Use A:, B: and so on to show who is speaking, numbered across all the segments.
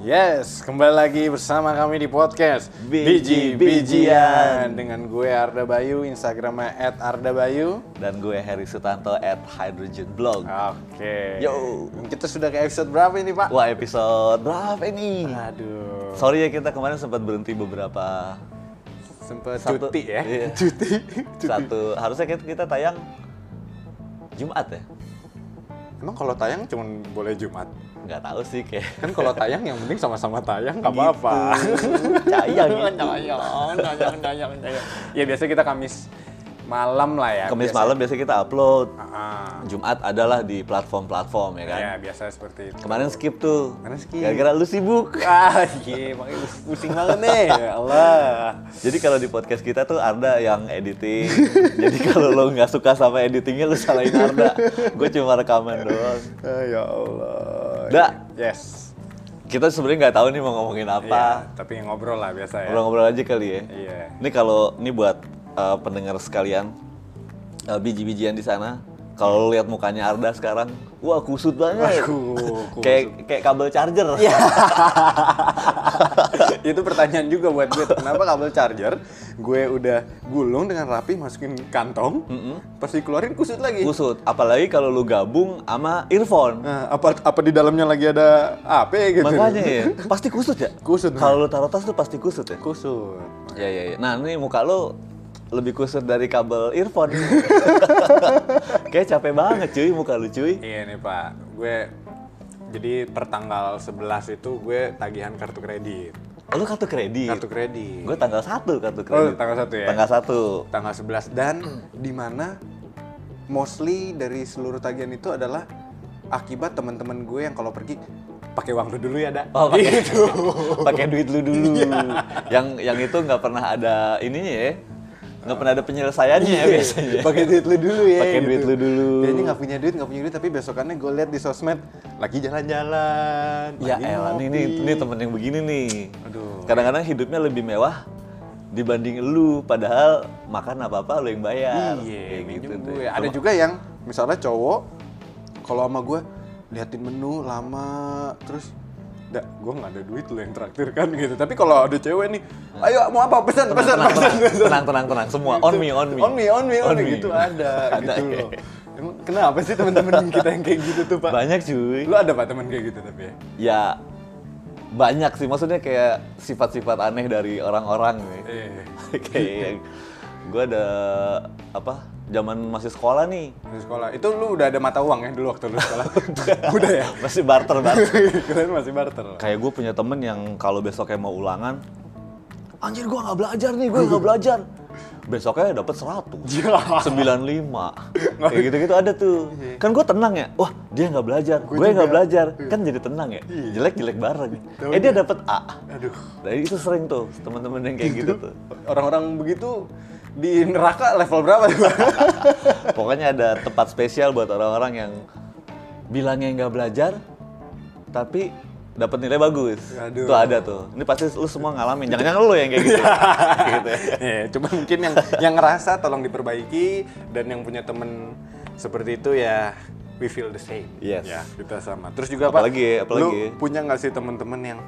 A: Yes, kembali lagi bersama kami di podcast
B: Biji-
A: Biji-bijian dengan gue Arda Bayu, Instagramnya @ardabayu.
B: dan gue Heri Sutanto at Hydrogen Blog.
A: Oke.
B: Yo.
A: Kita sudah ke episode berapa ini, Pak?
B: Wah episode berapa ini?
A: Aduh.
B: Sorry ya kita kemarin sempat berhenti beberapa
A: Sempat
B: Satu-
A: cuti ya.
B: iya.
A: Cuti.
B: satu harusnya kita, kita tayang Jumat ya?
A: Emang kalau tayang cuma boleh Jumat.
B: Nggak tahu sih kayak gitu.
A: Kan kalau tayang yang penting sama-sama tayang nggak apa-apa.
B: Caya gitu.
A: Gitu. Tayang, tayang, tayang. Ya biasa kita Kamis malam lah ya.
B: Kamis
A: biasa.
B: malam biasanya kita upload.
A: Ah,
B: Jumat adalah di platform-platform ya kan.
A: ya biasa seperti itu.
B: Kemarin skip tuh.
A: Kemarin skip.
B: Gara-gara lu sibuk.
A: Ah, iya, makanya pus- pusing banget nih. ya Allah.
B: Jadi kalau di podcast kita tuh Arda yang editing. Jadi kalau lo nggak suka sama editingnya lu salahin Arda. Gue cuma rekaman doang.
A: ya Allah.
B: Dak.
A: Yes.
B: Kita sebenarnya nggak tahu nih mau ngomongin apa.
A: Iya, tapi ngobrol lah biasa ya.
B: Ngobrol-ngobrol aja kali ya.
A: Iya.
B: Ini kalau ini buat uh, pendengar sekalian uh, biji-bijian di sana. Kalau lu lihat mukanya Arda sekarang, wah kusut banget.
A: Aku, aku-
B: Kayak kayak kabel charger.
A: Iya. itu pertanyaan juga buat gue. Kenapa kabel charger gue udah gulung dengan rapi masukin kantong, pas dikeluarin kusut lagi.
B: Kusut. Apalagi kalau lu gabung sama earphone.
A: Nah, apa apa di dalamnya lagi ada AP gitu.
B: Makanya ya, pasti kusut ya?
A: Kusut.
B: Kalau lu taruh tas tuh pasti kusut ya?
A: kusut.
B: Ya ya ya. Nah, ini muka lu lebih kusut dari kabel earphone. kayak capek banget cuy muka lu cuy.
A: Iya nih Pak, gue jadi pertanggal 11 itu gue tagihan kartu kredit.
B: Lu kartu kredit.
A: Kartu kredit.
B: Gue tanggal 1 kartu kredit.
A: tanggal satu ya?
B: Tanggal 1.
A: tanggal 11 dan
B: Hmm.
A: di mana mostly dari seluruh tagihan itu adalah akibat teman-teman gue yang kalau pergi pakai uang lu dulu ya, Da.
B: Oh, pakai
A: Gitu. Iya.
B: pakai duit lu dulu. yang yang itu nggak pernah ada ininya ya. Nggak pernah ada penyelesaiannya ya biasanya.
A: Iya. Pakai duit lu dulu ya.
B: Pakai duit lu dulu.
A: Jadi nggak punya duit, nggak punya duit, tapi besokannya gue lihat di sosmed lagi jalan-jalan.
B: Ya
A: lagi
B: elah, nih, nih,
A: ngopi.
B: nih temen yang begini nih.
A: Aduh.
B: Kadang-kadang hidupnya lebih mewah dibanding lu, padahal makan apa-apa lu yang bayar.
A: Iya,
B: Kayak gitu
A: minjem
B: tuh. ya.
A: gue. Ada juga yang misalnya cowok kalau sama gue liatin menu lama terus Nggak, gue nggak ada duit lo yang traktir kan gitu. Tapi kalau ada cewek nih, ayo mau apa pesan pesan
B: Tenang,
A: pesan. Gitu.
B: tenang, tenang, tenang, tenang. semua on me, on me.
A: On me, on me, on
B: On
A: me.
B: me.
A: gitu ada,
B: Ada,
A: gitu
B: ya.
A: loh. Emang kenapa sih teman-teman kita yang kayak gitu tuh pak?
B: Banyak cuy.
A: Lu ada pak teman kayak gitu tapi ya?
B: Ya banyak sih maksudnya kayak sifat-sifat aneh dari orang-orang nih.
A: Eh,
B: kayak gue ada apa zaman masih sekolah nih
A: di sekolah itu lu udah ada mata uang ya dulu waktu lu sekolah? udah ya.
B: masih barter barter
A: Kalian masih barter. lah.
B: kayak gue punya temen yang kalau besoknya mau ulangan anjir gue nggak belajar nih gue nggak belajar besoknya dapat 100 95 kayak gitu-gitu ada tuh kan gue tenang ya wah dia nggak belajar gue
A: juga.
B: nggak belajar kan jadi tenang ya jelek jelek bareng eh dia dapat A
A: Aduh.
B: dari Nah, itu sering tuh teman-teman yang kayak gitu tuh
A: Orang-orang begitu di neraka level berapa tuh? Pak?
B: Pokoknya ada tempat spesial buat orang-orang yang bilangnya nggak belajar, tapi dapat nilai bagus.
A: Aduh.
B: Tuh ada tuh. Ini pasti lu semua ngalamin. Jangan-jangan lu yang kayak gitu. gitu. ya.
A: Ya, cuma mungkin yang yang ngerasa tolong diperbaiki dan yang punya temen seperti itu ya we feel the same.
B: Yes.
A: Ya, kita sama. Terus juga
B: Apalagi,
A: Pak,
B: apalagi.
A: lu punya nggak sih temen-temen yang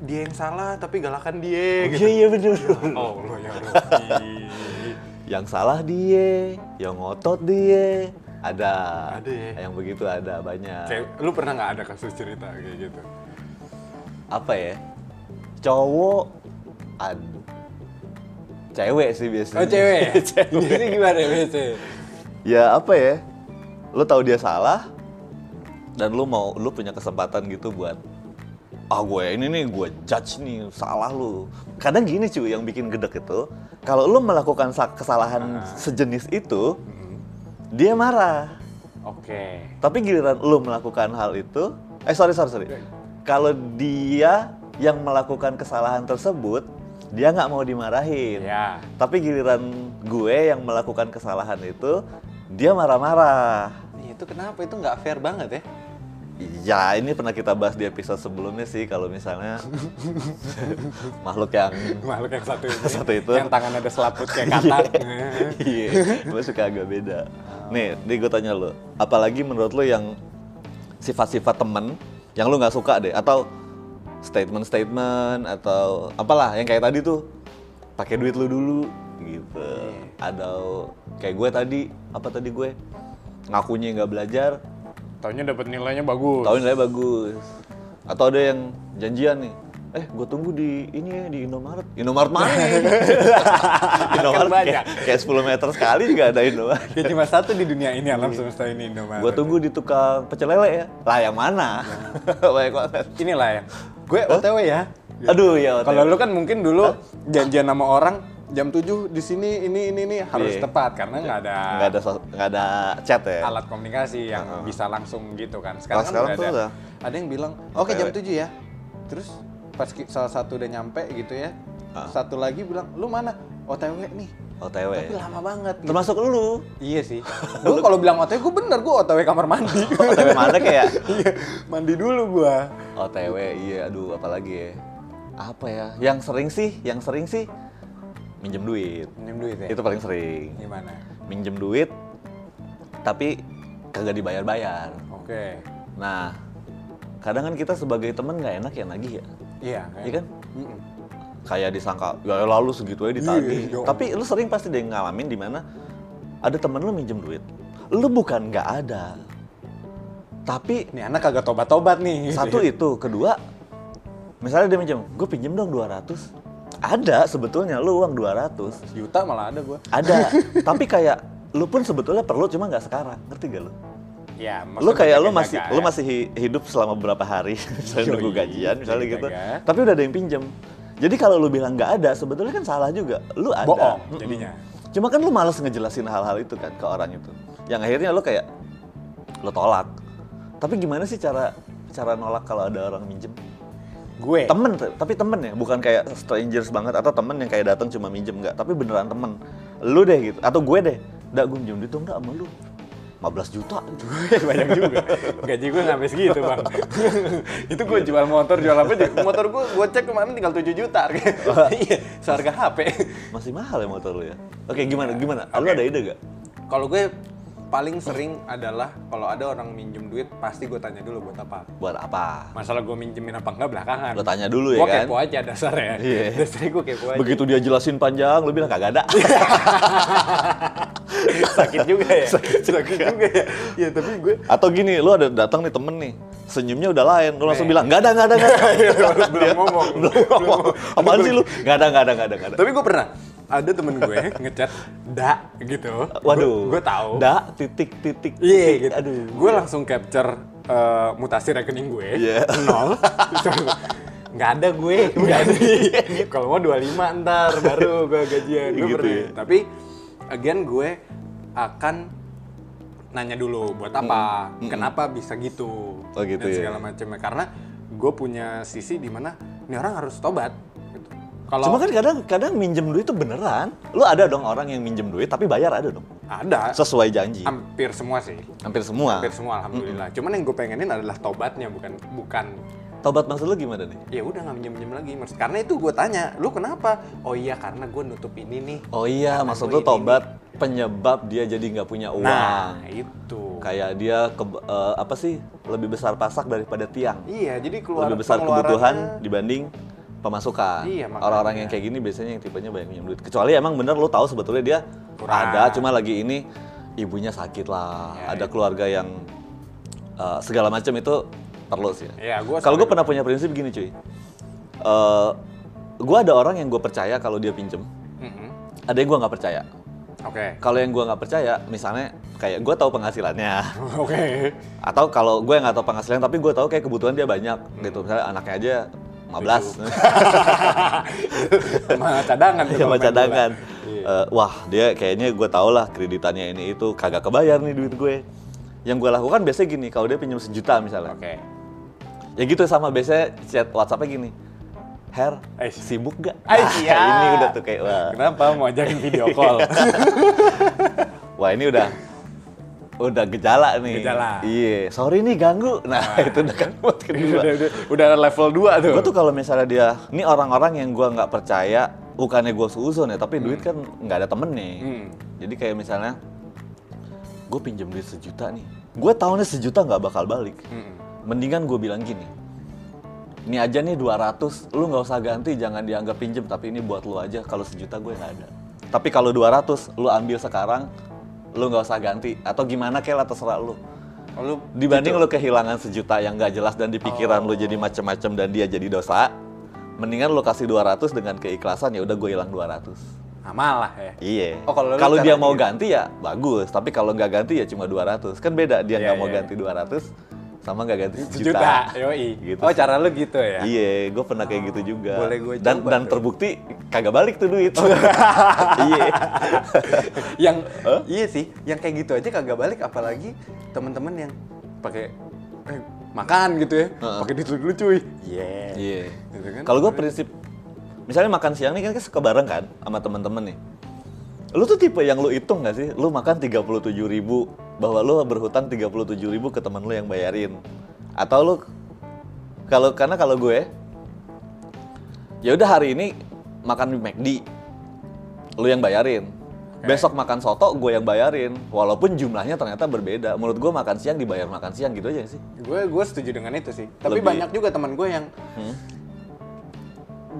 A: dia yang salah tapi galakan dia gitu.
B: Iya iya bener.
A: Oh, Allah ya Rabbi.
B: Yang salah dia, yang ngotot dia. Ada.
A: Ada ya.
B: Yang begitu ada banyak.
A: Kayak, lu pernah nggak ada kasus cerita kayak gitu?
B: Apa ya? Cowok ad cewek sih
A: Oh,
B: biasanya.
A: cewek.
B: Cewek.
A: Biasanya gimana biasanya?
B: ya apa ya lo tahu dia salah dan lo mau lo punya kesempatan gitu buat ah gue ini nih gue judge nih salah lu kadang gini cuy yang bikin gedek itu kalau lo melakukan sa- kesalahan sejenis itu dia marah
A: Oke.
B: tapi giliran lo melakukan hal itu eh sorry sorry sorry kalau dia yang melakukan kesalahan tersebut dia nggak mau dimarahin
A: Ya.
B: tapi giliran gue yang melakukan kesalahan itu, dia marah-marah.
A: Itu kenapa? Itu nggak fair banget ya?
B: Ya, ini pernah kita bahas di episode sebelumnya sih kalau misalnya makhluk yang
A: makhluk yang satu ini,
B: Satu itu.
A: yang tangan ada selaput kayak katak
B: Iya, gue suka agak beda. Nih, nih gue tanya lo, apalagi menurut lo yang sifat-sifat temen yang lu nggak suka deh atau statement-statement atau apalah yang kayak tadi tuh pakai duit lu dulu gitu atau kayak gue tadi apa tadi gue ngakunya nggak belajar
A: Taunya dapat nilainya bagus.
B: tahun nilai bagus atau ada yang janjian nih eh gue tunggu di ini ya di Indomaret Indomaret mana ya?
A: Kan
B: Indomaret kayak, kayak 10 meter sekali juga ada Indomaret
A: Dia cuma satu di dunia ini alam
B: Iya.
A: semesta ini Indomaret.
B: gue tunggu di tukang pecel lele ya lah yang
A: Nah.
B: mana banyak banget
A: Inilah ya. Gue OTW ya.
B: aduh ya
A: Kalau lu kan mungkin dulu janjian sama orang jam 7 di sini ini ini ini harus
B: Iya.
A: tepat karena nggak ada
B: nggak ada sos- nggak ada chat ya
A: alat komunikasi yang bisa langsung gitu kan.
B: Kalau
A: Sekarang, kan
B: sekarang
A: udah
B: tuh
A: ada.
B: udah.
A: Ada yang bilang, "Oke, jam
B: Cewek.
A: 7 ya." Terus pas ki- salah satu udah nyampe gitu ya.
B: Ah.
A: Satu lagi bilang, "Lu mana?" OTW nih.
B: OTW
A: Tapi lama banget. gitu.
B: termasuk lu
A: Iya sih. Gue kalau bilang OTW, gue bener gue OTW kamar mandi.
B: OTW mana kayak
A: Iya, mandi dulu gue.
B: OTW iya aduh apalagi ya apa ya yang sering sih yang sering sih minjem duit
A: Minjem duit ya.
B: itu paling sering
A: Gimana?
B: minjem duit tapi kagak dibayar-bayar
A: Oke.
B: nah kadang kan kita sebagai temen nggak enak ya nagih ya
A: Iya.
B: Iya kan?
A: Mm-mm.
B: kayak disangka ya lalu segitu aja ditagih
A: Iya, iya.
B: tapi lu sering pasti deh ngalamin di mana ada temen lu minjem duit lu bukan nggak ada tapi
A: Ini anak kagak tobat-tobat nih. gitu
B: Satu
A: ya.
B: itu, kedua misalnya dia minjem, gue pinjem dong 200. Ada sebetulnya lu uang 200.
A: Sejuta malah ada gue.
B: Ada, tapi kayak lu pun sebetulnya perlu cuma nggak sekarang. Ngerti gak lu?
A: Ya,
B: Lu
A: maksudnya
B: kayak lu
A: jaga-jaga iya,
B: masih
A: ya.
B: lu masih hi- hidup selama beberapa hari, misalnya nunggu
A: Yoi,
B: gajian misalnya gitu.
A: jaga-jaga.
B: Tapi udah ada yang pinjem. Jadi kalau lu bilang nggak ada, sebetulnya kan salah juga. Lu ada.
A: bohong
B: Mm-mm.
A: jadinya.
B: Cuma kan lu males ngejelasin hal-hal itu kan ke orang itu. Yang akhirnya lu kayak lu tolak. Tapi gimana sih cara cara nolak kalau ada orang minjem?
A: Gue
B: Temen, tapi temen ya, bukan kayak strangers banget atau temen yang kayak datang cuma minjem nggak, tapi beneran temen. Lu deh gitu, atau gue deh. Nggak, gue minjem duit dong, nggak sama lu. 15 juta.
A: banyak juga. Gaji gue nggak sampai segitu, Bang. itu gue jual motor, jual apa aja. Motor gue gue cek kemarin tinggal 7 juta. Iya, seharga HP.
B: Masih mahal ya motor lu ya. Oke, gimana, gimana? Lu ada ide gak?
A: Kalau gue paling sering adalah kalau ada orang minjem duit pasti gue tanya dulu buat apa.
B: Buat apa?
A: Masalah gue minjemin apa enggak belakangan.
B: Lu tanya dulu ya
A: gue
B: kan?
A: kepo aja dasarnya.
B: Iya.
A: Dasarnya gue kepo aja.
B: Begitu dia jelasin panjang, lu bilang kagak ada.
A: Sakit juga ya. Sakit juga, ya. Iya, tapi gue
B: atau gini, lu ada datang nih temen nih, senyumnya udah lain, lu langsung
A: Nih.
B: bilang, nggak ada, nggak ada, nggak ada.
A: Iya. belum ngomong.
B: Belum ngomong. Apaan sih lu? Nggak ada, nggak ada, nggak ada, nggak ada.
A: Tapi gue pernah ada temen gue ngechat da gitu.
B: Waduh.
A: Gue tahu.
B: Da, titik, titik,
A: Iya
B: titik.
A: gitu.
B: Aduh.
A: Gue langsung capture eh, mutasi rekening gue.
B: Iya.
A: Nol. Nggak ada gue. Nggak ada. Kalau mau 25 ntar baru gue gajian. Gue
B: Gitu
A: pernah.
B: ya.
A: Tapi again gue akan nanya dulu buat apa, kenapa bisa gitu,
B: Oh, gitu
A: dan
B: ya.
A: segala macamnya. Karena gue punya sisi di mana ini orang harus tobat. Gitu. Kalau
B: Cuma kan kadang kadang minjem duit itu beneran. Lu ada dong orang yang minjem duit tapi bayar ada dong.
A: ada
B: Sesuai janji.
A: hampir semua sih,
B: Hampir
A: Iya.
B: semua.
A: hampir semua alhamdulillah. Cuman yang gue pengenin adalah tobatnya bukan bukan
B: Tobat maksud lu gimana
A: ya
B: nih?
A: udah nggak minjem minjem lagi Mas. karena itu gue tanya lu kenapa oh iya karena gue nutup ini nih
B: Oh iya, maksud lu
A: ini,
B: tobat penyebab dia jadi nggak punya uang.
A: nah itu
B: Kayak dia ke, eh, apa sih? Lebih besar pasak daripada tiang.
A: iya jadi keluar
B: Lebih besar kebutuhan
A: pengeluarannya-
B: dibanding pemasukan.
A: Iya, makanya.
B: Orang-orang yang kayak gini biasanya yang tipenya banyak minjem duit. Kecuali emang bener lu tahu sebetulnya dia
A: Kurang.
B: ada cuma lagi ini ibunya sakit lah,
A: Iya,
B: ada keluarga yang eh, segala macam itu perlu sih.
A: Iya, gua
B: kalau gue
A: sampai-
B: pernah punya prinsip gini cuy. Eh gue ada orang yang gue percaya kalau dia pinjem,
A: Mm-mm.
B: ada yang gue nggak percaya.
A: oke
B: Kalau yang gue nggak percaya, misalnya kayak gue tahu penghasilannya,
A: oke
B: atau kalau gue nggak tahu penghasilan tapi gue tahu kayak kebutuhan dia banyak gitu misalnya anaknya aja 15
A: sama cadangan tuh
B: ya
A: kalau
B: sama
A: main
B: cadangan
A: bola. Iya.
B: Eh, wah dia kayaknya gue tau lah kreditannya ini itu kagak kebayar nih duit gue yang gue lakukan biasanya gini kalau dia pinjam sejuta misalnya
A: oke
B: ya gitu sama biasanya chat WhatsAppnya gini Her,
A: Eish.
B: sibuk gak?
A: Ay,
B: Wah,
A: iya.
B: Ah, ini udah tuh kayak wah, Iya.
A: kenapa mau ajakin video call
B: wah ini udah udah gejala nih.
A: Gejala.
B: Iya, sorry nih ganggu. Nah, itu udah kan buat kedua.
A: udah, udah, udah level 2 tuh
B: Gue tuh kalau misalnya dia, ini orang-orang yang gua nggak percaya, bukannya gue suuzon ya, tapi duit kan nggak ada temen nih.
A: Hmm.
B: Jadi kayak misalnya, gue pinjam duit sejuta nih, gue tahunya sejuta nggak bakal balik.
A: Mm-mm.
B: mendingan gue bilang gini ini aja nih 200 lu nggak usah ganti jangan dianggap pinjem tapi ini buat lu aja kalau sejuta gue nggak ada tapi kalau 200 lu ambil sekarang lu nggak usah ganti atau gimana kayak lah terserah lu
A: Lalu
B: dibanding
A: Gitu.
B: lu kehilangan sejuta yang nggak jelas dan di pikiran lu
A: Oh.
B: jadi macem-macem dan dia jadi dosa mendingan lu kasih 200 dengan keikhlasan ya udah gue hilang 200
A: amal lah ya.
B: Iya.
A: Oh, kalau lu
B: kalau
A: caranya
B: dia mau
A: gitu.
B: ganti ya bagus, tapi kalau nggak ganti ya cuma 200. Kan beda dia
A: Iya,
B: nggak mau
A: iya.
B: ganti 200 sama nggak ganti
A: Sejuta,
B: sejuta.
A: yoi.
B: Gitu
A: Oh
B: sih.
A: cara lu gitu ya?
B: Iya, gue pernah kayak gitu juga.
A: Oh, Boleh gua
B: dan
A: coba
B: dan
A: tuh.
B: terbukti kagak balik tuh duit. Iya.
A: yang iya sih, yang kayak gitu aja kagak balik apalagi teman-teman yang pakai eh, makan gitu ya, pakai duit lu dulu cuy. Iya.
B: Iya.
A: Gitu kan?
B: Kalau gue prinsip misalnya makan siang nih kan kita suka bareng kan sama teman-teman nih. Lu tuh tipe yang lu hitung gak sih? Lu makan 37.000 ribu, bahwa lu berhutang 37.000 ribu ke teman lu yang bayarin. Atau lu kalau karena kalau gue ya udah hari ini makan di McD lu yang bayarin. Besok makan soto gue yang bayarin, walaupun jumlahnya ternyata berbeda. Menurut gue makan siang dibayar makan siang gitu aja sih.
A: Gue gue setuju dengan itu sih. Tapi
B: Lebih- Hmm?
A: banyak juga teman gue yang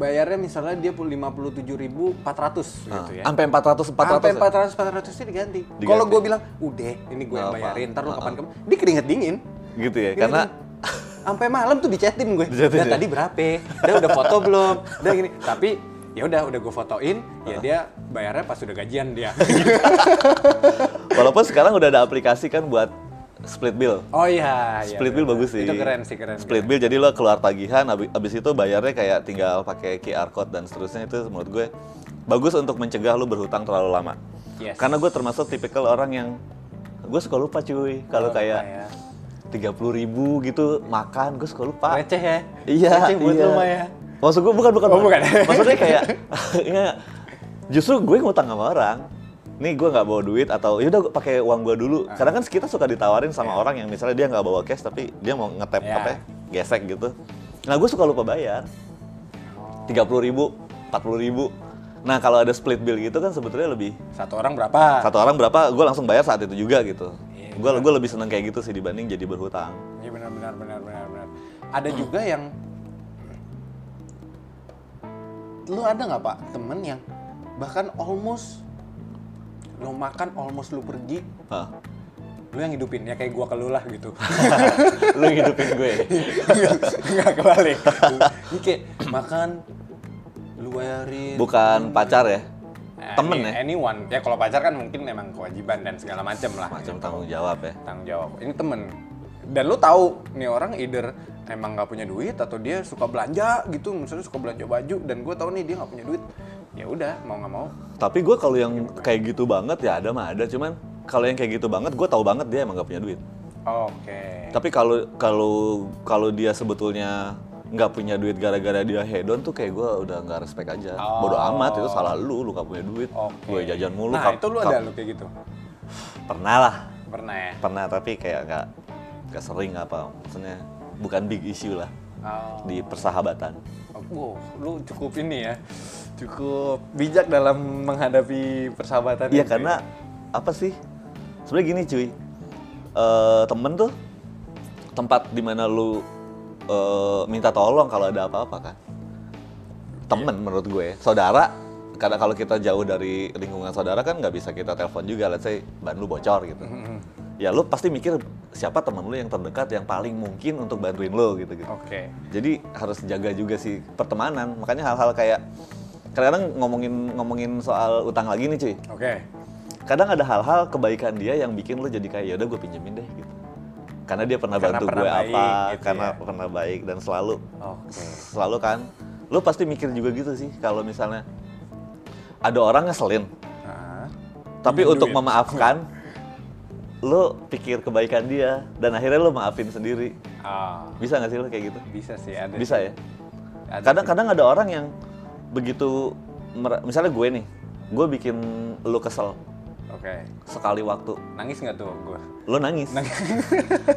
A: bayarnya misalnya dia 57.400
B: Ah.
A: gitu ya.
B: Sampai 400
A: Sampai
B: 400.
A: 400
B: ya?
A: 400 nya diganti.
B: Diganti.
A: Kalau gue bilang, "Udah, ini gue yang
B: Nggak apa.
A: bayarin, ntar lu
B: Nggak
A: kapan kapan Dia keringet dingin.
B: gitu ya
A: Dia
B: karena
A: keringet. Iya, sampai malam tuh dicetin gue.
B: Dicetin
A: Dan
B: ya?
A: tadi berapa? Dia udah foto belum? Dan gini, tapi ya udah udah gue fotoin, ya dia bayarnya pas udah gajian dia.
B: walaupun sekarang udah ada aplikasi kan buat split bill
A: oh iya, iya,
B: split bill
A: bener.
B: bagus sih
A: Itu keren sih, keren.
B: split bill jadi lo keluar tagihan abi- abis itu bayarnya kayak tinggal pakai QR code dan seterusnya itu menurut gue bagus untuk mencegah lo berhutang terlalu lama
A: Yes.
B: karena gue termasuk tipikal orang yang gue suka lupa cuy kalau
A: Lupa ya.
B: kayak tiga ribu gitu makan gue suka lupa
A: Receh ya.
B: Iya,
A: Receh buat
B: iya.
A: lu, Ma, ya.
B: Maksud gue bukan bukan.
A: Oh, bukan.
B: Maksudnya kayak ya, justru gue ngutang sama orang. Nih gue nggak bawa duit atau yaudah gua pakai uang gue dulu.
A: Ah.
B: Karena kan kita suka ditawarin sama
A: Iya.
B: orang yang misalnya dia nggak bawa cash tapi dia mau ngetap
A: Ya.
B: apa ya, gesek gitu. Nah gue suka lupa bayar. Tiga puluh ribu, empat puluh ribu. Nah kalau ada split bill gitu kan sebetulnya lebih
A: Satu orang berapa?
B: satu orang berapa gue langsung bayar saat itu juga gitu.
A: Iya,
B: Gue gue lebih seneng kayak gitu sih dibanding jadi berhutang.
A: Iya benar benar benar benar benar. Ada juga yang lu ada nggak pak temen yang bahkan almost lu makan almost lu pergi
B: Hah.
A: lu yang hidupin ya kayak gua ke lu lah gitu
B: Lu ngidupin gue.
A: Iya, nggak kebalik ini kayak makan lu bayarin
B: Bukan pacar ya?
A: Eh,
B: Temen
A: any-
B: ya?
A: anyone ya kalau pacar kan mungkin memang kewajiban dan segala macam lah
B: Macam tanggung jawab ya.
A: tanggung jawab ini temen dan lu tahu nih orang either emang nggak punya duit atau dia suka belanja gitu misalnya suka belanja baju dan gue tahu nih dia nggak punya duit ya udah mau nggak mau
B: Tapi gue kalau yang kayak gitu banget ya ada mah ada, cuman kalau yang kayak gitu banget gue tahu banget dia emang gak punya duit.
A: oke
B: Tapi kalau kalau kalau dia sebetulnya nggak punya duit gara-gara dia hedon tuh kayak gue udah nggak respect aja.
A: Oh.
B: Bodoh amat itu salah lu, lu gak punya duit.
A: oke
B: Gue jajan mulu.
A: nah
B: kap-
A: itu lu
B: kap-
A: ada lu kayak gitu
B: Pernah lah,
A: pernah ya
B: pernah tapi kayak nggak nggak sering apa, maksudnya bukan big issue lah
A: oh.
B: di persahabatan.
A: Wow, lu cukup ini ya cukup bijak dalam menghadapi persahabatan
B: Iya
A: ini.
B: karena apa sih? Sebenarnya gini cuy, Eh, temen tuh tempat dimana lu eh, minta tolong kalau ada apa-apa kan. Temen menurut gue, saudara. Karena kalau kita jauh dari lingkungan saudara kan nggak bisa kita telepon juga, let's say ban lu bocor gitu. Ya lu pasti mikir siapa temen lu yang terdekat yang paling mungkin untuk bantuin lu gitu gitu.
A: oke
B: Jadi harus jaga juga sih pertemanan. Makanya hal-hal kayak kadang ngomongin ngomongin soal utang lagi nih cuy
A: oke
B: kadang ada hal-hal kebaikan dia yang bikin lo jadi kayak yaudah gue pinjemin deh gitu karena dia pernah
A: Karena
B: bantu
A: pernah
B: gue
A: baik,
B: apa
A: gitu
B: karena
A: ya.
B: pernah baik dan selalu
A: oke
B: selalu kan lo pasti mikir juga gitu sih kalau misalnya ada orang ngeselin
A: Nah,
B: tapi
A: Pinjem
B: untuk
A: duit.
B: memaafkan lo pikir kebaikan dia dan akhirnya lo maafin sendiri
A: ah,
B: bisa nggak sih lo kayak gitu
A: bisa sih ada
B: bisa ya
A: Ada
B: kadang-kadang ada orang yang begitu mer- misalnya gue nih gue bikin lo kesel
A: oke
B: sekali waktu
A: nangis nggak tuh gue
B: lo nangis.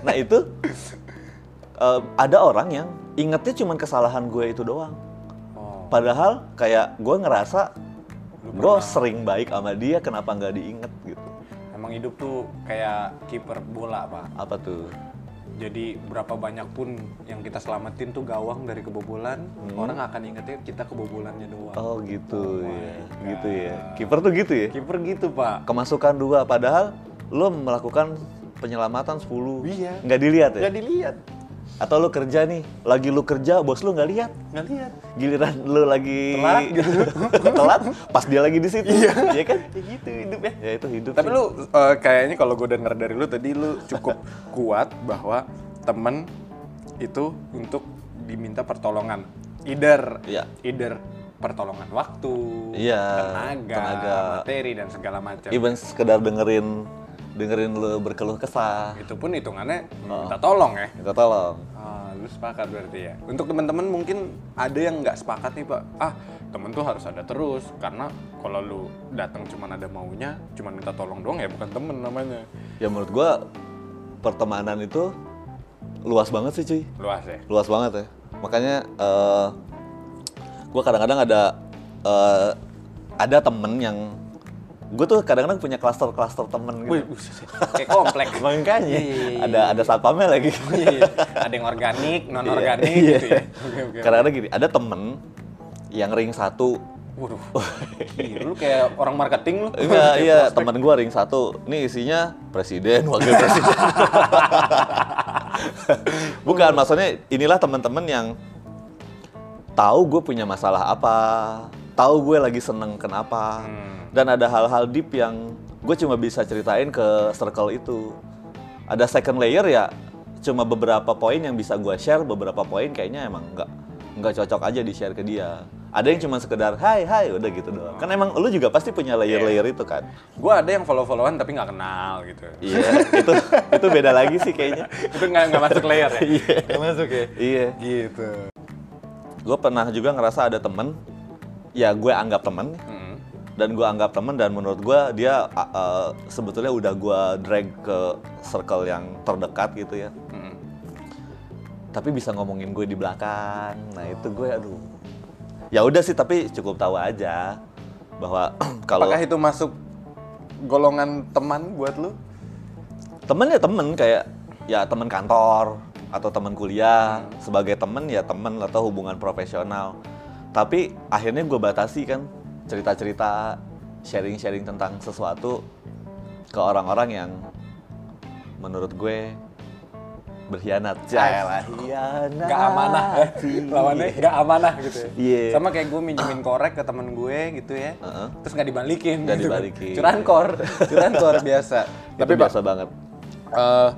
B: nah itu eh, ada orang yang ingetnya cuman kesalahan gue itu doang.
A: oh
B: Padahal kayak gue ngerasa
A: Lu
B: gue sering baik sama dia, kenapa nggak diinget gitu?
A: Emang hidup tuh kayak kiper bola, Pak.
B: Apa tuh?
A: Jadi berapa banyak pun yang kita selamatin tuh gawang dari kebobolan, orang akan ingetnya kita kebobolannya doang.
B: Hmm. Oh gitu ya, gitu ya. Kiper tuh gitu ya.
A: Kiper gitu, Pak.
B: Kemasukan dua, padahal lo melakukan penyelamatan 10
A: Iya.
B: nggak dilihat ya
A: Nggak dilihat.
B: atau lo kerja nih lagi lo kerja bos lo nggak lihat
A: Nggak lihat.
B: giliran lo lagi
A: Telat gitu.
B: telat pas dia lagi di situ iya kan
A: Ya gitu hidupnya.
B: ya itu hidup
A: Tapi
B: sih.
A: lu eh, kayaknya kalau gue dengar dari lu tadi lu cukup kuat bahwa temen itu untuk diminta pertolongan. Either
B: Iya.
A: either pertolongan waktu,
B: Iya,
A: tenaga,
B: tenaga. Iya.
A: materi dan segala macam.
B: even sekedar dengerin dengerin lo berkeluh kesah
A: Itu pun hitungannya
B: Oh.
A: minta tolong ya.
B: minta tolong
A: Ah, lu sepakat berarti ya. Untuk teman-teman mungkin ada yang nggak sepakat nih pak. Ah, temen tuh harus ada terus karena kalau lu datang cuman ada maunya, cuman minta tolong doang ya bukan temen namanya.
B: ya menurut gua pertemanan itu luas banget sih cuy
A: Luas ya.
B: luas banget ya makanya eh gue kadang-kadang ada eh, ada temen yang gue tuh kadang-kadang punya klaster-klaster temen gitu
A: Wih, kayak komplek.
B: makanya
A: Iya, iya, iya,
B: ada ada satpamnya lagi
A: Iya, iya. ada yang organik, non organik
B: Iya.
A: gitu ya. Oke oke.
B: kadang-kadang gini ada temen yang ring satu
A: Waduh, gila, lu kayak orang marketing lu.
B: Iya,
A: Kayak
B: iya,
A: prospek.
B: teman gua ring satu. Ini isinya presiden, wakil presiden. Bukan, maksudnya inilah teman-teman yang tahu gue punya masalah apa, tahu gue lagi seneng kenapa, dan ada hal-hal deep yang gue cuma bisa ceritain ke circle itu. Ada second layer ya, cuma beberapa poin yang bisa gua share, beberapa poin kayaknya emang nggak nggak cocok aja di share ke dia. Ada yang cuma sekedar hai hai udah gitu doang. Kan emang lu juga pasti punya layer-layer itu kan.
A: Gua ada yang follow-followan tapi nggak kenal gitu.
B: Iya, itu itu beda lagi sih kayaknya.
A: Itu nggak nggak masuk layer ya.
B: Iya.
A: Nggak masuk ya.
B: Iya.
A: Gitu.
B: Gue pernah juga ngerasa ada temen, ya gue anggap temen,
A: Hmm.
B: dan gue anggap temen dan menurut gue dia uh, uh, sebetulnya udah gue drag ke circle yang terdekat gitu ya.
A: Hmm.
B: Tapi bisa ngomongin gue di belakang, nah itu gue aduh. Ya udah sih tapi cukup tahu aja bahwa kalau
A: Apakah itu masuk golongan teman buat lu?
B: temen ya temen kayak ya temen kantor atau temen kuliah sebagai temen ya temen atau hubungan profesional tapi akhirnya gue batasi kan cerita-cerita sharing-sharing tentang sesuatu ke orang-orang yang menurut gue berkhianat Ya Jalan hianat
A: Nggak amanah. ya. Lawannya nggak amanah gitu ya.
B: Iya.
A: Sama kayak gue minjemin korek ke temen gue gitu ya.
B: Heeh.
A: Terus nggak dibalikin.
B: Nggak
A: gitu kan.
B: dibalikin.
A: Curahan kor, curahan kor biasa.
B: tapi
A: Tapi Pak,
B: biasa banget
A: eh,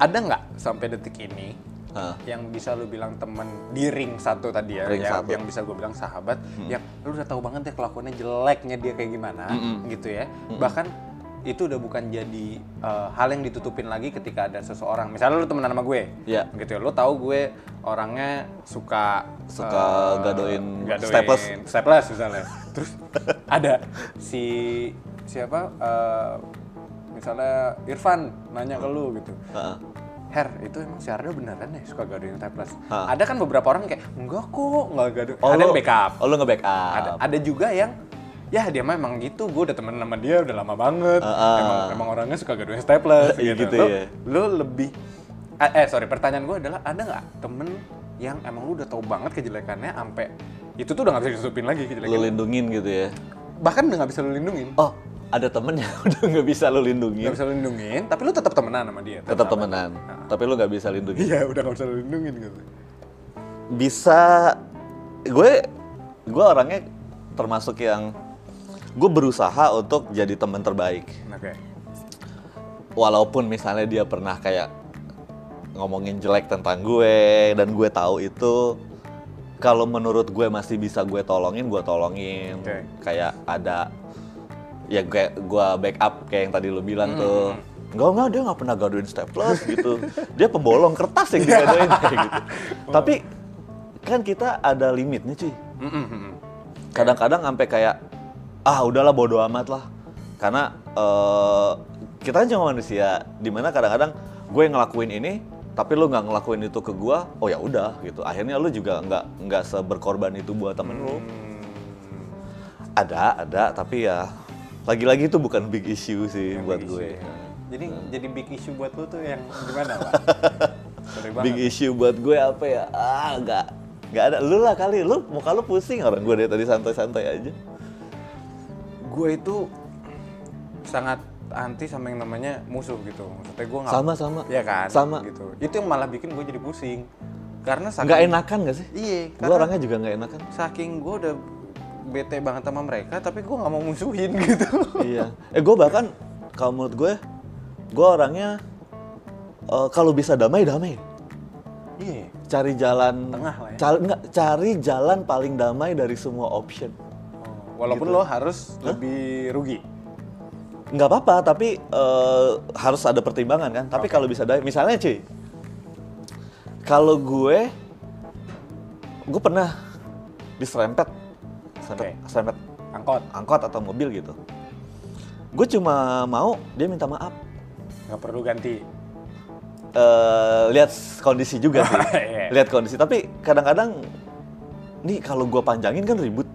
A: ada nggak sampai detik ini
B: Heeh.
A: yang bisa lu bilang temen di ring satu tadi ya,
B: Ring
A: yang,
B: satu. Hmm.
A: yang bisa gue bilang sahabat, yang lu udah tahu banget ya kelakuannya jeleknya dia kayak gimana, gitu ya. Bahkan itu udah bukan jadi eh, hal yang ditutupin lagi ketika ada seseorang. Misalnya lu temenan sama gue,
B: Iya.
A: gitu ya. Lu tahu gue orangnya suka
B: Suka
A: eh,
B: gadoin staples.
A: staples misalnya. Terus ada si siapa? eh, misalnya Irfan nanya ke lu gitu.
B: Heeh.
A: Her, itu emang si Ardo beneran ya suka gadoin staples?
B: Hah.
A: Ada kan beberapa orang yang kayak, enggak kok, enggak gadoin.
B: Oh,
A: ada yang
B: lu-
A: backup.
B: oh, lu nge-backup
A: Ada, ada juga yang, ya dia mah emang gitu, gue udah temen sama dia udah lama banget.
B: Heeh.
A: Emang, emang orangnya suka gadoin staples
B: Iya
A: gitu.
B: Ah, gitu
A: Lu- Lu
B: ya.
A: lebih, eh eh, sorry pertanyaan gue adalah, ada nggak temen yang emang lu udah tau banget kejelekannya sampai itu tuh udah nggak bisa disupin lagi
B: lu
A: kejelekannya.
B: lindungin gitu ya
A: Bahkan udah nggak bisa lu lindungin.
B: oh iya. ada temen yang udah nggak bisa lu lindungin
A: Nggak bisa lu lindungin, tapi lu tetap temenan sama dia.
B: tetap
A: sama-
B: temenan tapi lu nggak bisa lindungi
A: Iya, udah nggak bisa lu lindungin gitu.
B: bisa gue gue orangnya termasuk yang gue berusaha untuk jadi teman terbaik
A: Oke.
B: walaupun misalnya dia pernah kayak ngomongin jelek tentang gue dan gue tahu itu kalau menurut gue masih bisa gue tolongin gue tolongin
A: Oke.
B: kayak ada ya kayak gue backup kayak yang tadi lo bilang tuh Enggak, enggak, dia nggak pernah gaduin staples gitu. Dia pembolong kertas yang digaduin kayak gitu. Tapi kan kita ada limitnya cuy
A: Mm-mm.
B: kadang-kadang sampai kayak ah udahlah bodo amat lah karena eh, kita kan cuma manusia dimana kadang-kadang gue ngelakuin ini tapi lu nggak ngelakuin itu ke gue oh ya udah gitu akhirnya lu juga nggak nggak seberkorban itu buat temen lu
A: Hmm.
B: ada ada tapi ya lagi-lagi itu bukan big issue sih buat
A: Big
B: gue
A: issue
B: Ah.
A: ya. Jadi jadi big issue buat lu tuh yang gimana, Pak? Sorry
B: big
A: banget.
B: issue buat gue apa ya ah nggak nggak ada lu lah kali lu muka lu pusing orang gue dari tadi santai-santai aja
A: Gue itu sangat anti sama yang namanya musuh gitu. Maksudnya gue nggak
B: sama sama
A: Iya kan?
B: sama
A: Gitu. Itu yang malah bikin gue jadi pusing. Karena saking
B: nggak enakan gak sih
A: Iya,
B: gue
A: karena
B: orangnya juga nggak enakan
A: saking gue udah bete banget sama mereka, tapi gue nggak mau musuhin gitu.
B: iya eh gue bahkan kalau menurut gue gue orangnya eh, kalau bisa damai damai
A: Iya.
B: cari jalan
A: Tengah lah ya.
B: cari, nggak, cari jalan paling damai dari semua option
A: Oh,
B: Gitu.
A: Walaupun lo harus lebih rugi.
B: nggak apa-apa tapi eh, harus ada pertimbangan kan tapi kalau bisa damai misalnya cuy kalau gue gue pernah diserempet serempet,
A: Oke.
B: serempet
A: Angkot.
B: angkot atau mobil gitu gue cuma mau dia minta maaf
A: Nggak perlu ganti.
B: eh lihat kondisi juga sih.
A: Iya.
B: lihat kondisi. Tapi kadang-kadang nih kalau gua panjangin kan ribut,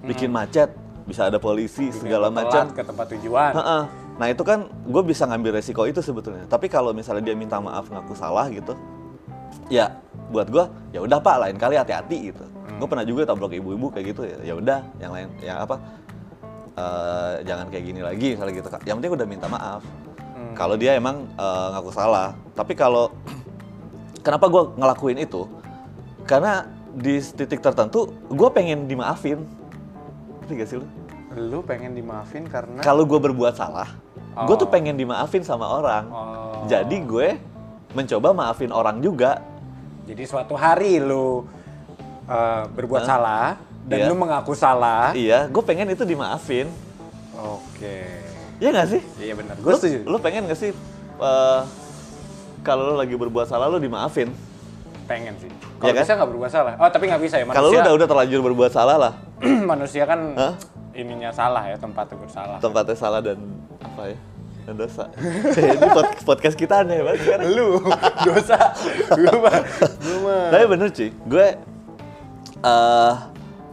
B: bikin macet, bisa ada polisi segala
A: Telat
B: macam.
A: Ke tempat tujuan.
B: Heeh. Nah itu kan gue bisa ngambil resiko itu sebetulnya. Tapi kalau misalnya dia minta maaf ngaku salah gitu, ya buat gua ya udah pak lain kali hati-hati gitu. Gue pernah juga tabrak ibu-ibu kayak gitu ya. Ya udah yang lain yang apa eh, jangan kayak gini lagi misalnya gitu. Yang penting udah minta maaf. Kalau dia emang eh, ngaku salah. Tapi kalau kenapa gua ngelakuin itu? Karena di titik tertentu gua pengen dimaafin. Ngerti gak sih lu?
A: Lu pengen dimaafin karena
B: kalau gue berbuat salah, gue tuh
A: Oh.
B: pengen dimaafin sama orang.
A: Oh.
B: Jadi gue mencoba maafin orang juga.
A: jadi suatu hari lu uh, berbuat salah dan
B: Iya.
A: lu mengaku salah.
B: Iya, gue pengen itu dimaafin.
A: Oke.
B: Iya gak sih?
A: Iya benar. Gue
B: Lu,
A: setuju.
B: lu pengen gak sih eh, kalau lu lagi berbuat salah lu dimaafin?
A: pengen sih. Kalau
B: Iya kan?
A: bisa nggak berbuat salah. Oh tapi nggak bisa ya manusia.
B: Kalau lu udah udah terlanjur berbuat salah lah,
A: manusia kan
B: Hah?
A: ininya salah ya tempatnya bersalah.
B: tempatnya salah dan apa ya? Dan dosa. Ini pod- podcast kita aneh banget sekarang.
A: lu dosa. lu mah. Lu mah.
B: Tapi bener cuy, gue eh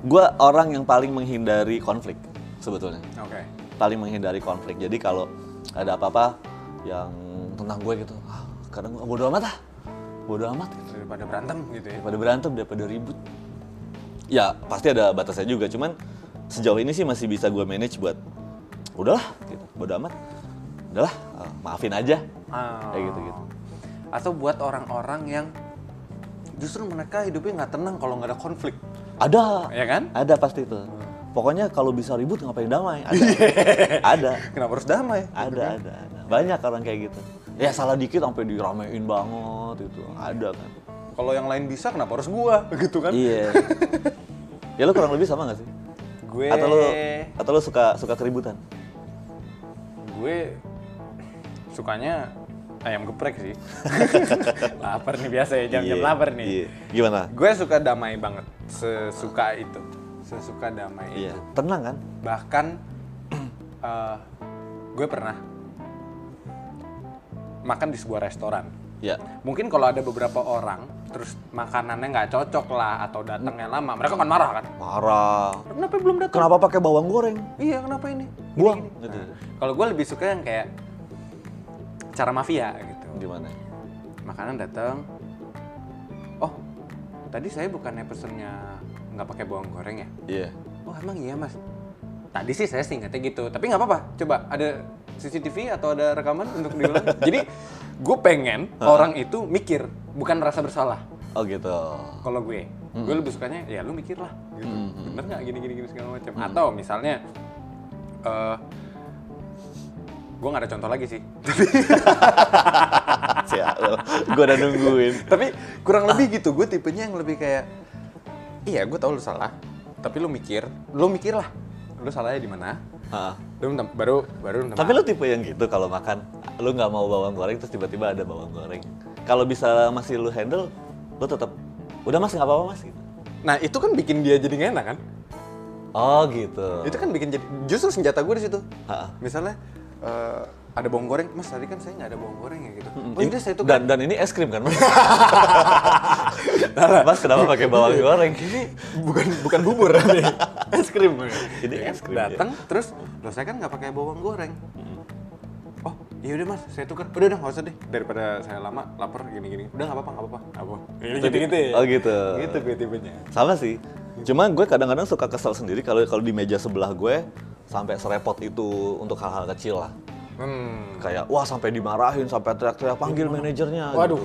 B: gue orang yang paling menghindari konflik sebetulnya.
A: Oke.
B: paling menghindari konflik. Jadi kalau ada apa-apa yang tentang gue gitu, ah, kadang gue bodo amat ah, bodo amat gitu.
A: Daripada berantem gitu ya.
B: Daripada berantem, daripada ribut. Ya pasti ada batasnya juga, cuman sejauh ini sih masih bisa gue manage buat udahlah, gitu, bodo amat, udahlah, ah, maafin aja,
A: Ah.
B: kayak gitu, gitu-gitu.
A: Atau buat orang-orang yang justru mereka hidupnya nggak tenang kalau nggak ada konflik.
B: Ada,
A: Ya kan?
B: ada pasti itu. Pokoknya kalau bisa ribut ngapain damai, ada, ada.
A: Kenapa harus damai?
B: ada ada ada banyak orang kayak gitu ya salah dikit sampai diramein banget itu ada kan
A: Kalau yang lain bisa, kenapa harus gua? Gitu kan?
B: iya ya lu kurang lebih sama gak sih
A: Gue,
B: atau lu atau lu suka suka keributan
A: gue sukanya ayam geprek sih. lapar nih biasa ya, jam-jam
B: Iya,
A: lapar nih.
B: iya. gimana
A: Gue suka damai banget, sesuka itu, sesuka damai.
B: iya tenang kan
A: Bahkan eh, gue pernah makan di sebuah restoran.
B: ya
A: Mungkin kalau ada beberapa orang, terus makanannya nggak cocok lah atau datangnya lama, mereka akan marah kan?
B: marah
A: Kenapa belum datang?
B: kenapa pakai bawang goreng
A: Iya, kenapa ini?
B: buang gitu
A: Kalau gue lebih suka yang kayak cara mafia gitu.
B: gimana
A: Makanan datang. Oh, tadi saya bukannya pesennya nggak pakai bawang goreng ya?
B: iya
A: Oh emang iya mas. Tadi sih saya singkatnya gitu, tapi nggak apa-apa. Coba ada CCTV atau ada rekaman untuk diulang. Jadi gue pengen orang itu mikir, bukan rasa bersalah.
B: oh gitu
A: Kalau gue,
B: Hmm.
A: gue lebih sukanya ya lu mikir lah, gitu. bener nggak gini-gini gini segala macam.
B: Hmm.
A: Atau misalnya, eh gue nggak ada contoh lagi sih.
B: sial gue udah nungguin
A: tapi kurang lebih gitu gue tipenya yang lebih kayak iya gue tau lu salah tapi lu mikir lu mikir lah lu salahnya di mana
B: Ah.
A: lu minta- baru baru minta
B: Tapi lu tipe yang gitu kalau makan, lu nggak mau bawang goreng terus tiba-tiba ada bawang goreng. Kalau bisa masih lu handle, lu tetap udah mas nggak apa-apa mas gitu.
A: maaf. nah itu kan bikin dia jadi nggak enak kan
B: Oh gitu.
A: itu kan bikin jadi justru senjata gue di situ
B: Ha-ha.
A: misalnya eh, ada bawang goreng mas tadi kan saya nggak ada bawang goreng ya gitu oh
B: Ini-
A: iya saya tuh
B: dan dan ini es krim kan mas? mas kenapa pakai bawang goreng?
A: bukan bukan bubur nih es krim
B: Ini es krim, ya.
A: datang terus loh saya kan nggak pakai bawang goreng oh ya udah mas saya tukar udah udah nggak usah deh daripada saya lama lapar gini gini udah nggak apa apa nggak apa apa gitu gitu ya
B: Oh gitu.
A: gitu gue tipenya
B: Sama sih. Cuma gue kadang-kadang suka kesel sendiri kalau kalau di meja sebelah gue sampai serepot itu untuk hal-hal kecil lah.
A: hmm
B: Kayak wah sampai dimarahin, sampai teriak-teriak panggil manajernya.
A: waduh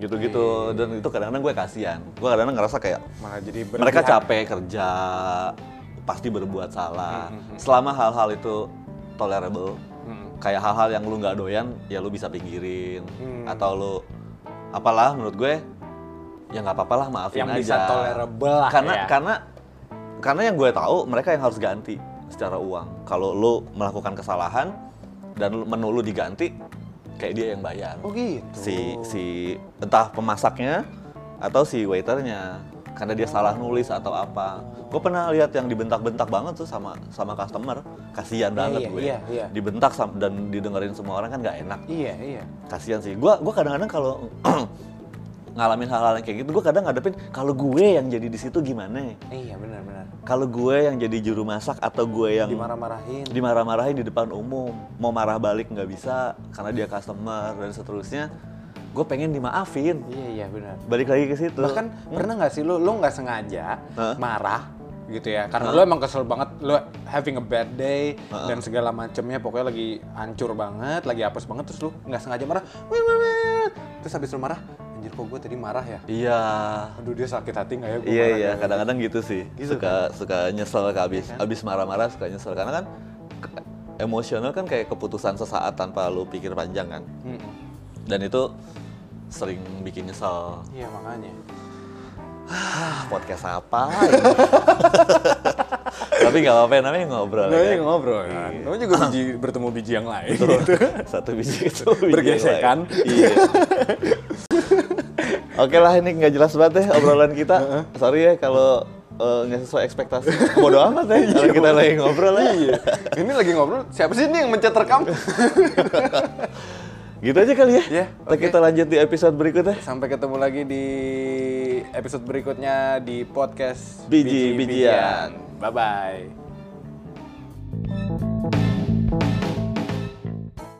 B: Gitu. Gitu-gitu dan itu kadang-kadang gue kasihan. Gue kadang-kadang ngerasa kayak
A: malah jadi
B: mereka
A: berlebihan.
B: capek kerja pasti berbuat
A: Hmm,
B: salah. Selama hal-hal itu tolerable, kayak hal-hal yang lu nggak doyan ya lu bisa pinggirin
A: Hmm.
B: atau lu apalah menurut gue ya nggak apa-apalah maafin
A: Yang
B: aja.
A: bisa tolerable lah
B: Karena
A: ya.
B: karena karena yang gue tahu mereka yang harus ganti secara uang. Kalau lu melakukan kesalahan dan lu- menu lu diganti kayak dia yang bayar
A: oh gitu
B: si si entah pemasaknya atau si waiternya karena dia salah nulis atau apa. Gue pernah lihat yang dibentak-bentak banget tuh sama sama customer. Kasihan
A: iya,
B: banget gue.
A: iya, iya.
B: Dibentak sam- dan didengerin semua orang kan nggak enak.
A: iya iya
B: Kasihan sih. Gue gua kadang-kadang kalau ngalamin hal-hal yang kayak gitu, gue kadang ngadepin kalau gue yang jadi di situ gimana? ya?
A: iya benar benar
B: Kalau gue yang jadi juru masak atau gue yang
A: dimarah-marahin
B: dimarah-marahin di depan umum mau marah balik nggak bisa karena dia customer dan seterusnya gue pengen dimaafin
A: iya iya benar
B: balik lagi ke situ
A: bahkan kan pernah nggak sih lu lu nggak sengaja
B: Hmm. Hah?
A: marah gitu ya karena lu emang kesel banget lu having a bad day dan segala macemnya pokoknya lagi hancur banget lagi apes banget terus lu nggak sengaja marah "Wih, wih, wih." terus habis lu marah anjir kok gue tadi marah ya
B: iya
A: aduh dia sakit hati nggak ya gue
B: iya
A: marah kan?
B: iya
A: ya?"
B: kadang-kadang gitu sih suka suka nyesel ke
A: Iya
B: abis
A: kan?
B: abis marah-marah suka nyesel karena kan ke- emosional kan kayak keputusan sesaat tanpa lu pikir panjang kan
A: Mm-mm.
B: dan itu sering bikin nyesel
A: iya makanya
B: ah podcast apa ini? tapi nggak apa-apa namanya ngobrol ya
A: Namanya
B: kan?
A: ngobrol kan Namanya juga biji bertemu biji yang lain
B: satu biji ketemu biji yang
A: Bergesekan.
B: lain. iya oke lah ini nggak jelas banget deh obrolan kita sorry ya kalau eh, nggak sesuai ekspektasi bodo amat ya kalau kita lagi ngobrol ya
A: iya ini lagi ngobrol siapa sih ini yang mencet rekam
B: gitu aja kali ya
A: Iya,
B: Ntar kita lanjut di episode berikutnya
A: sampai ketemu lagi di episode berikutnya di podcast
B: Biji-bijian.
A: bye bye